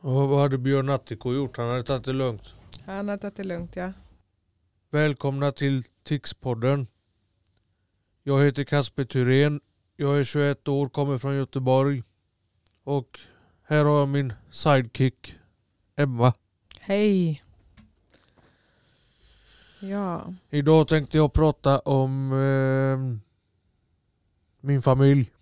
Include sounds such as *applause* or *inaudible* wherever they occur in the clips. Och vad hade Björn Attiko gjort? Han hade tagit det lugnt. Han har tagit det lugnt ja. Välkomna till Tix-podden. Jag heter Kasper Thyrén. Jag är 21 år, kommer från Göteborg. Och här har jag min sidekick, Emma. Hej. Ja. Idag tänkte jag prata om eh, min familj.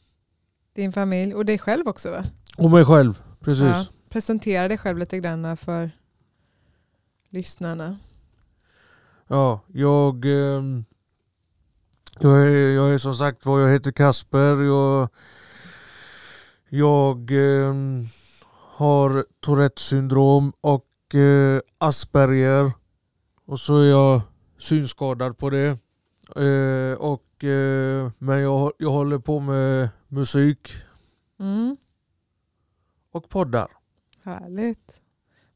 Din familj och dig själv också va? Och mig själv, precis. Ja. Presentera dig själv lite grann för lyssnarna. Ja, jag, ehm, jag, är, jag är som sagt vad jag heter Kasper. Jag, jag ehm, har Tourettes syndrom och eh, Asperger. Och så är jag synskadad på det. Eh, och, eh, men jag, hå- jag håller på med musik Mm. och poddar. Härligt.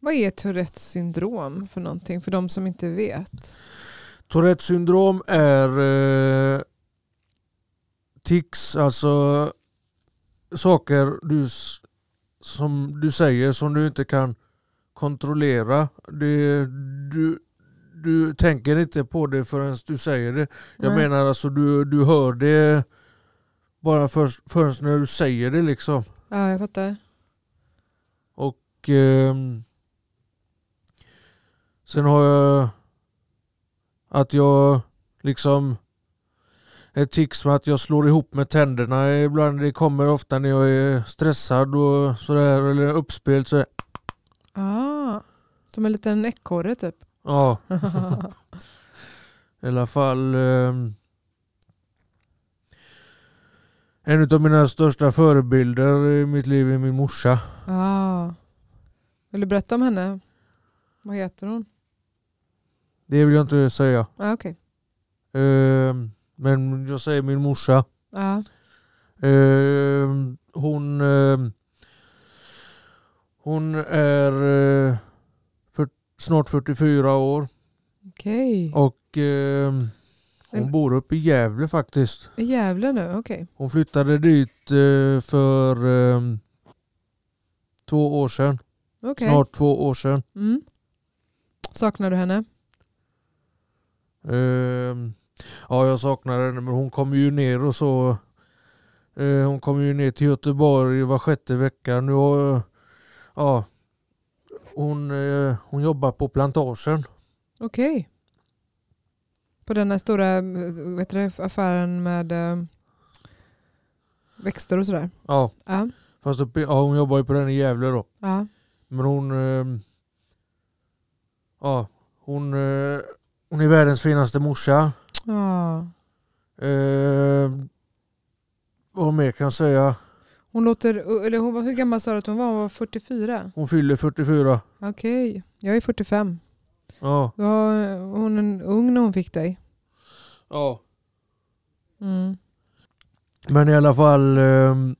Vad är Tourettes syndrom för någonting för de som inte vet? Tourettes syndrom är eh, tics, alltså saker du, s- som du säger som du inte kan kontrollera. Det, du, du tänker inte på det förrän du säger det. Jag Nej. menar alltså du, du hör det bara först, förrän när du säger det liksom. Ja, jag fattar. Och, ehm, sen har jag att jag liksom ett tics med att jag slår ihop med tänderna ibland. Det kommer ofta när jag är stressad och sådär eller uppspelt. Så, Ah, som en liten ekorre *laughs* typ. ja, i alla fall. ehm, en av mina största förebilder i mitt liv är min morsa. ah. Vill du berätta om henne? Vad heter hon? Det vill jag inte säga. Ah, Okej. Ehm, men jag säger min morsa. Ja. Eh, hon, eh, hon är eh, för, snart 44 år Okej. och eh, hon Men- bor uppe i Gävle faktiskt. I Gävle nu? Okej. Hon flyttade dit eh, för eh, två år sedan. Okay. Snart två år sedan. Mm. Saknar du henne? Eh, ja, jag saknar henne men hon kommer ju ner och så. Eh, hon kommer ju ner till Göteborg var sjätte vecka. Nu har, ja, hon, eh, hon jobbar på plantagen. Okej. På den här stora eh, vet du, det, affären med eh, växter och sådär? Ja, Ja. fast uppe, ja, hon jobbar ju på den i Gävle då. ja. Men hon, eh, ja, hon, eh, hon är världens finaste morsa. ja. Eh, vad mer kan jag säga? Hon låter, eller hon, var- hur gammal sa du att hon var? Hon var 44? Hon fyller 44. Okej. Jag är 45. Ja, Då var hon en ung när hon fick dig. ja. Mm. Men i alla fall. ehm,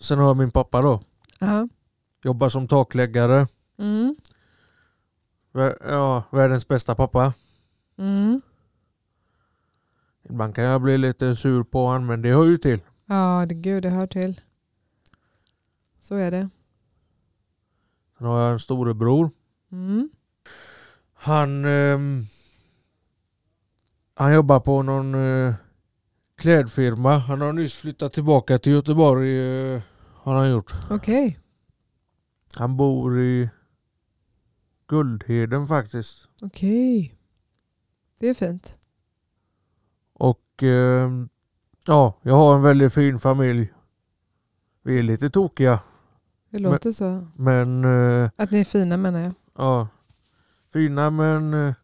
sen har jag min pappa då. Ja. Jobbar som takläggare. Mm. Vär, ja, världens bästa pappa. Mm. Ibland kan jag bli lite sur på honom men det hör ju till. Ja, det, gud det hör till. Så är det. Sen har jag en storebror. Mm. Han, ehm, han jobbar på någon eh, klädfirma. Han har nyss flyttat tillbaka till Göteborg. Eh, har han gjort. Okej. Han bor i Guldheden faktiskt. Okej. Det är fint. Och eh, ja, jag har en väldigt fin familj. Vi är lite tokiga, Det Men- låter så. men eh, Att ni är fina menar jag. ja. Fina men eh,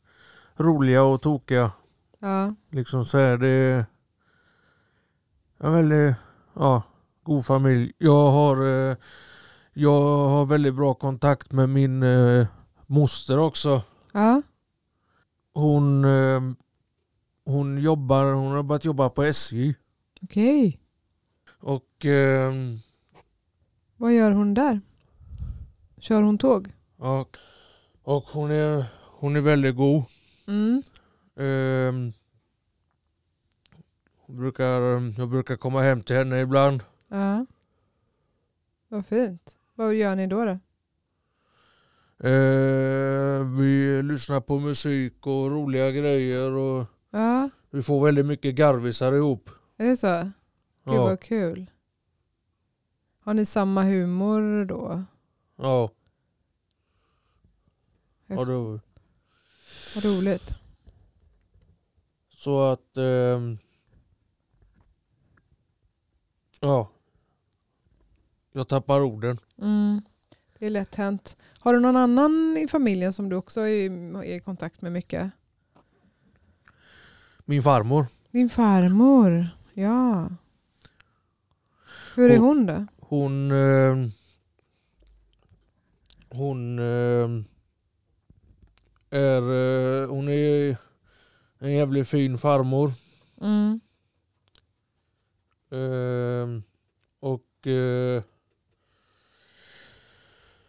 roliga och tokiga. Ja. Liksom så här, det är en väldigt ja, god familj. Jag har, eh, jag har väldigt bra kontakt med min eh, moster också. Ja. Hon, eh, hon jobbar, hon har börjat jobba på SJ. Okej. Och ehm, Vad gör hon där? Kör hon tåg? Och, och hon, är, hon är väldigt god. Mm. Ehm, hon brukar, jag brukar komma hem till henne ibland. Ja. Vad fint. Vad gör ni då? då? Eh, vi lyssnar på musik och roliga grejer och Ja, vi får väldigt mycket garvisar ihop. är det så? Gud Ja, vad kul. Har ni samma humor då? ja. ja det, Vad roligt. så att... ehm, ja. Jag tappar orden. Mm. Det är lätt hänt. Har du någon annan i familjen som du också är i- är i kontakt med mycket? Min farmor, Din farmor. Ja. Hur är Hon- hon då? hon... ehm, hon... ehm, är, eh, hon är en jävligt fin farmor. Mm. Ehm, och eh,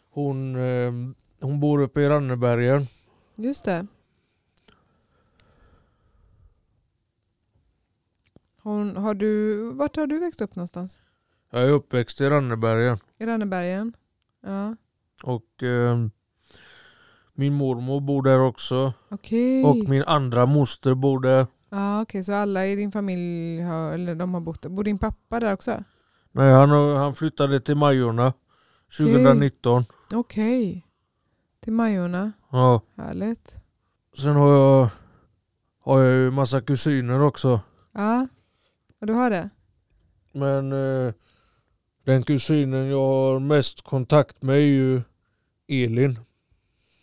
hon, ehm, hon bor uppe i Rannebergen. Just det. Hon, har du, vart har du växt upp någonstans? Jag är uppväxt i Rannebergen. I Rannebergen? Ja. Och ehm, min mormor bor där också. Okej. Och min andra moster bor där. Ja, okej, så alla i din familj har, eller de har bott där. Bor din pappa där också? Nej, han, har- han flyttade till Majorna 2019. Okej. Till Majorna. Ja. Härligt. Sen har jag, har jag ju massa kusiner också. Ja. ja, du har det? Men eh, den kusinen jag har mest kontakt med är ju Elin.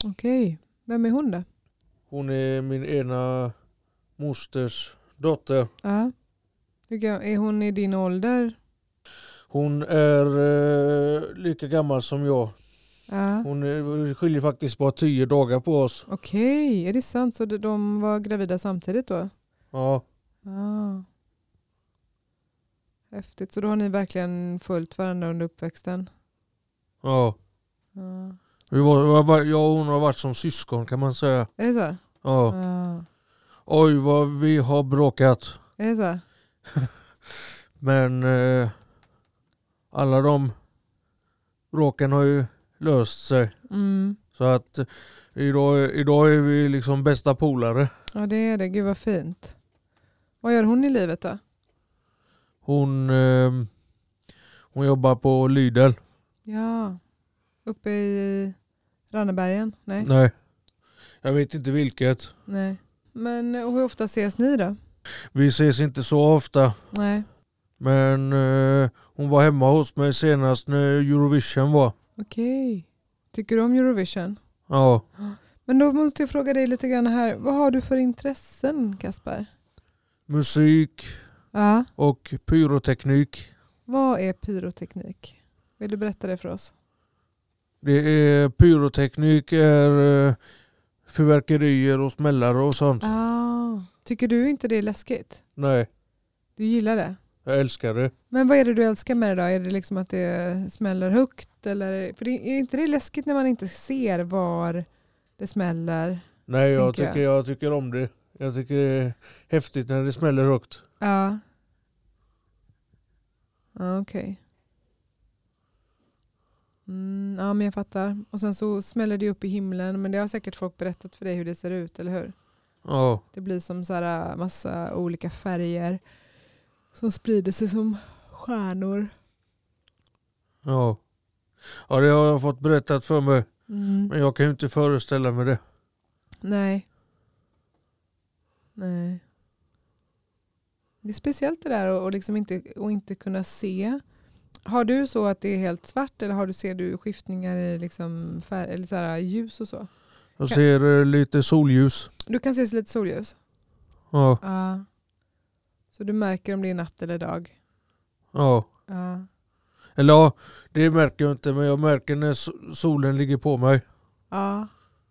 Okej. Vem är hon då? Hon är min ena mosters dotter. Ja. Hur gam- Är hon i din ålder? Hon är eh, lika gammal som jag. Ja. Hon är, skiljer faktiskt bara tio dagar på oss. Okej, är det sant? Så de- de var gravida samtidigt då? Ja, Ja. Ah. Häftigt. Så då har ni verkligen följt varandra under uppväxten? ja. Ja. Vi var, var- var, jag och hon har varit som syskon kan man säga. Är det så? Ja. Ja. Oj vad vi har bråkat. Är det så? Men eh, alla de bråken har ju löst sig. Mm. Så att eh, idag, idag är vi liksom bästa polare. Ja, det är det. Gud vad fint. Vad gör hon i livet då? Hon, ehm, hon jobbar på Lidl. Ja, uppe i Rannebergen? Nej. Nej. Jag vet inte vilket. Nej. Men och hur ofta ses ni då? Vi ses inte så ofta. Nej. Men eh, hon var hemma hos mig senast när Eurovision var. Okej. Tycker du om Eurovision? Ja. Men då måste jag fråga dig lite grann här. Vad har du för intressen Kasper? Musik Ja. och pyroteknik. Vad är pyroteknik? Vill du berätta det för oss? Det är pyroteknik är eh, fyrverkerier och smällare och sånt. Ah. Tycker du inte det är läskigt? Nej, Du gillar det? jag älskar det. Men vad är det du älskar med det då? Är det liksom att det smäller högt? Eller, för det, är inte det läskigt när man inte ser var det smäller? Nej, jag Tänker jag. tycker, jag tycker om det. Jag tycker det är häftigt när det smäller högt. Ja. Ja, Ah, okej. Mm, ja, men jag fattar. Och sen så smäller det upp i himlen. Men det har säkert folk berättat för dig hur det ser ut, eller hur? Ja, Det blir som så här äh, massa olika färger som sprider sig som stjärnor. ja. Ja, det har jag fått berättat för mig. Mm. Men jag kan ju inte föreställa mig det. Nej. Nej. Det är speciellt det där och, och liksom inte, och inte kunna se. Har du så att det är helt svart eller har du, ser du skiftningar i liksom fär, eller så här ljus och så? Jag Ja. ser eh, lite solljus. Du kan se lite solljus? Ja, Ja. Så du märker om det är natt eller dag? ja. Ja. Eller ja, det märker jag inte men jag märker när so- solen ligger på mig. ja.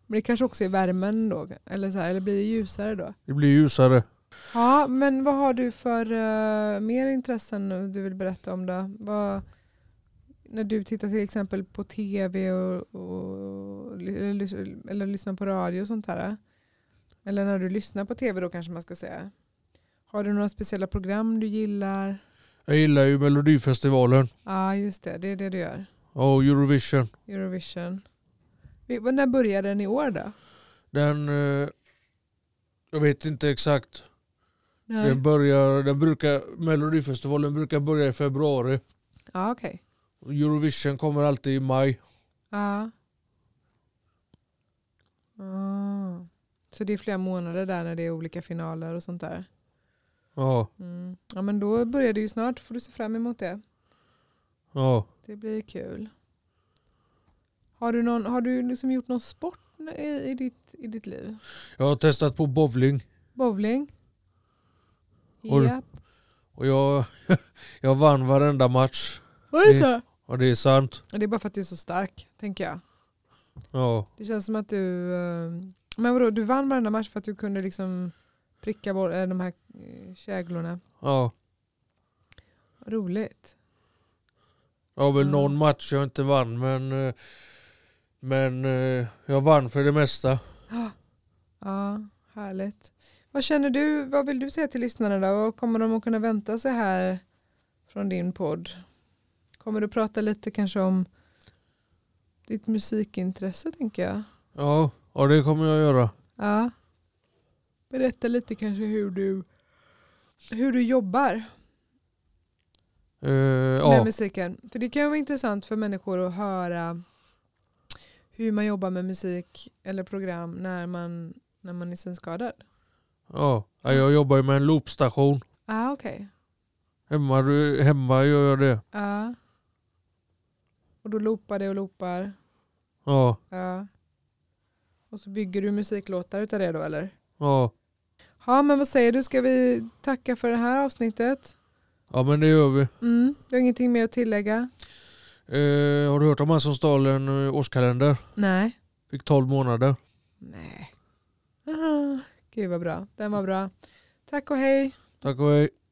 Men det kanske också är värmen då? Eller, så här, eller blir det ljusare då? Det blir ljusare. Ja, men vad har du för eh, mer intressen du vill berätta om då? Vad, när du tittar till exempel på tv och, och, eller, lys- eller lyssnar på radio och sånt här. Eller när du lyssnar på tv då kanske man ska säga. Har du några speciella program du gillar? Jag gillar ju Melodifestivalen Ja, just det. Det är det du gör. och Eurovision. Eurovision. Vi- men När började den i år då? Den, eh, jag vet inte exakt. Nej. Den, börjar, den brukar, Melodifestivalen brukar börja i februari. Ja, okej. Eurovision kommer alltid i maj. Ja. Ah. Så det är flera månader där när det är olika finaler och sånt där. Ja, Mm. Ja men då börjar det ju snart, får du se fram emot det. ja. Det blir kul. Har du, någon, har du liksom gjort någon sport i, i, ditt, i ditt liv? Jag har testat på bowling Bowling? Har du- Ja. och jag, *laughs* jag vann varenda match. Var det så? Och det är sant. Det är bara för att du är så stark, tänker jag. Ja, Det känns som att du... eh, Men vadå, du vann varenda match för att du kunde liksom pricka boll, eh, de här eh, käglorna. ja. Roligt. Jag har väl Mm. någon match jag inte vann men, eh, men eh, jag vann för det mesta. Ja, härligt. Vad känner du, vad vill du säga till lyssnarna då? Vad kommer de att kunna vänta sig här från din podd? Kommer du prata lite kanske om ditt musikintresse tänker jag? Ja, och det kommer jag göra. Ja. Berätta lite kanske hur du, hur du jobbar Eh, med ja, musiken. För det kan ju vara intressant för människor att höra hur man jobbar med musik eller program när man, när man är synskadad. ja. Ja, jag jobbar ju med en loopstation. Ah, okej. Hemma, hemma gör jag det. Ja. Och då loopar det och loopar. Ja, Ja. Och så bygger du musiklåtar utav det då eller? ja. Ja men vad säger du, ska vi tacka för det här avsnittet? ja men det gör vi. Mm. Du har ingenting mer att tillägga? Eh, har du hört om han som stal en eh, årskalender? Nej. Fick 12 månader. Nej. Ah, gud vad bra, den var bra. Tack och hej. Tack och hej.